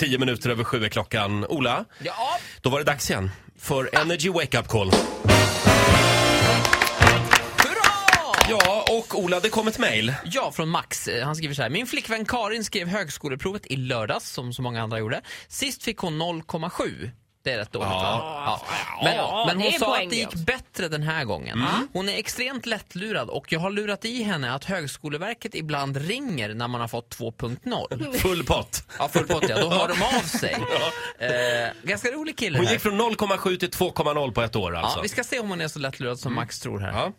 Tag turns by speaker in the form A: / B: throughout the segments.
A: Tio minuter över sju är klockan. Ola,
B: Ja.
A: då var det dags igen för Energy Wake Up Call.
B: Hurra!
A: Ja, och Ola, det kom ett mejl.
B: Ja, från Max. Eh, Han skriver så här. Min flickvän Karin skrev högskoleprovet i lördags, som så många andra gjorde. Sist fick hon 0,7. Det är rätt dåligt va? Ja. Men,
C: Ja,
B: men
C: det
B: hon
C: är
B: sa
C: poäng
B: att det gick
C: det.
B: bättre den här gången. Mm. Hon är extremt lättlurad och jag har lurat i henne att Högskoleverket ibland ringer när man har fått 2.0.
A: Full pott.
B: Ja, full pott ja. Då hör de av sig. Eh, ganska rolig kille
A: Hon
B: här.
A: gick från 0,7 till 2,0 på ett år
B: Ja,
A: alltså.
B: vi ska se om hon är så lättlurad som Max tror här.
A: Mm. Ja.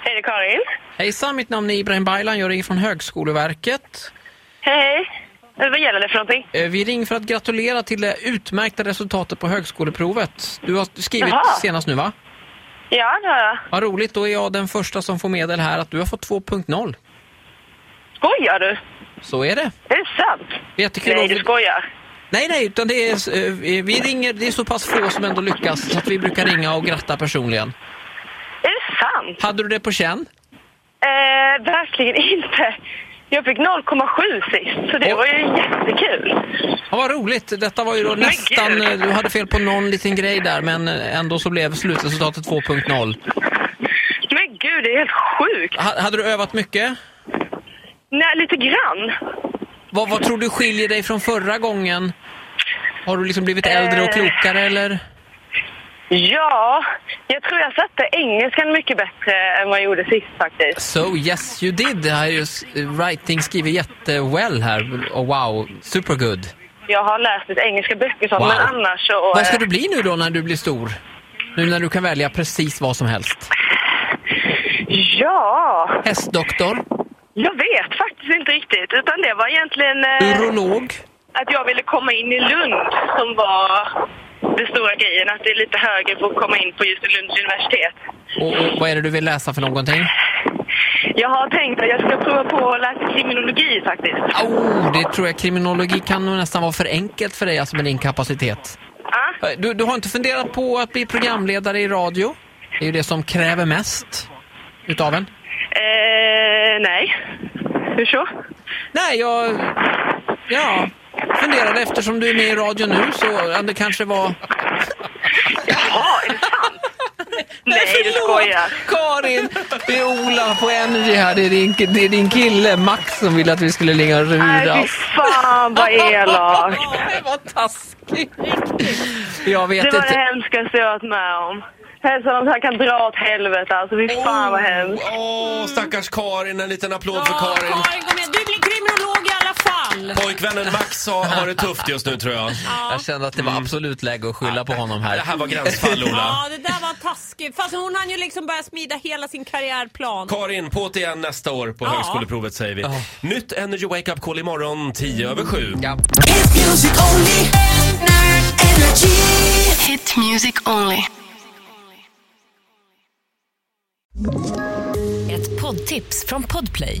D: Hej, det är Karin.
B: Hejsan, mitt namn är Ibrahim Baylan. Jag ringer från Högskoleverket.
D: Hej, hej. Eh, Vad gäller det för någonting?
B: Eh, Vi ringer för att gratulera till det utmärkta resultatet på högskoleprovet. Du har skrivit
D: Jaha.
B: senast nu va?
D: Ja, det har jag.
B: Vad roligt, då är jag den första som får medel här att du har fått 2.0.
D: Skojar du?
B: Så är det.
D: Är det sant?
B: Jättekul.
D: Nej,
B: om
D: du
B: vi-
D: skojar.
B: nej, nej, utan det är, eh, vi ringer, det är så pass få som ändå lyckas så att vi brukar ringa och gratta personligen.
D: Är det sant?
B: Hade du det på känn?
D: Eh, verkligen inte. Jag fick 0,7 sist, så
B: Oj.
D: det var ju jättekul.
B: Ja, vad roligt, detta var ju då nästan,
D: gud.
B: eh, du hade fel på någon liten grej där men eh, ändå så blev slutresultatet 2.0.
D: Men gud, det är helt sjukt.
B: Ha- Hade du övat mycket?
D: Nej, lite grann.
B: Vad, vad tror du skiljer dig från förra gången? Har du liksom blivit äldre och
D: Eh.
B: klokare eller?
D: Ja, jag tror jag satte engelskan mycket bättre än vad jag gjorde sist faktiskt.
B: So yes you did. Det här är ju s- writing skriver jättewell här. Oh, wow, super good.
D: Jag har läst lite engelska böcker och sånt,
B: Wow.
D: men annars så...
B: Vad ska
D: eh,
B: du bli nu då när du blir stor? Nu när du kan välja precis vad som helst.
D: Ja,
B: Hästdoktor,
D: jag vet faktiskt inte riktigt. Utan det var egentligen... eh,
B: urolog.
D: att jag ville komma in i Lund som var den stora grejen. Att det är lite högre för att komma in på just Lunds universitet.
B: Och, och vad är det du vill läsa för någonting?
D: Jag har tänkt att jag ska prova på att läsa kriminologi faktiskt.
B: Oh, det tror jag kriminologi kan nog nästan vara för enkelt för dig alltså med din kapacitet.
D: Ah,
B: Eh, Du, du har inte funderat på att bli programledare i radio? Det är ju det som kräver mest utav en.
D: eh, nej. Hur så?
B: Nej, jag... Ja, funderade eftersom du är med i radio nu så eh, det kanske var...
D: Ja, är det sant? Nej, du skojar.
B: Karin! Det är Ola på Energy här. Det är din, det är din kille Max som ville att vi skulle ringa och
D: Nej, fy
B: luras.
D: fan vad elak.
B: Det var taskigt! Jag vet
D: Det var det
B: inte.
D: hemskaste jag har varit med om. Hälsa honom så han kan dra åt helvete alltså. Fy fan vad hemskt.
A: Åh, stackars Karin. En liten applåd för
C: Ja,
A: Karin.
C: Karin går med. Du blir kriminolog i alla fall.
A: Pojkvännen Max har, har det tufft just nu tror jag.
B: Jag kände att det var absolut läge att skylla på honom
A: Det
B: här.
A: här var gränsfall Ola.
C: Ja, det där var taskigt. Fast hon hann ju liksom börja smida hela sin karriärplan.
A: Karin, på till igen nästa år på
C: Ja.
A: högskoleprovet säger vi.
B: Ja.
A: Nytt Energy Wake Up Call imorgon 10 över 7.
B: Ja.
E: Hit music only. Energy.
F: Hit music only.
G: Ett poddtips från Podplay.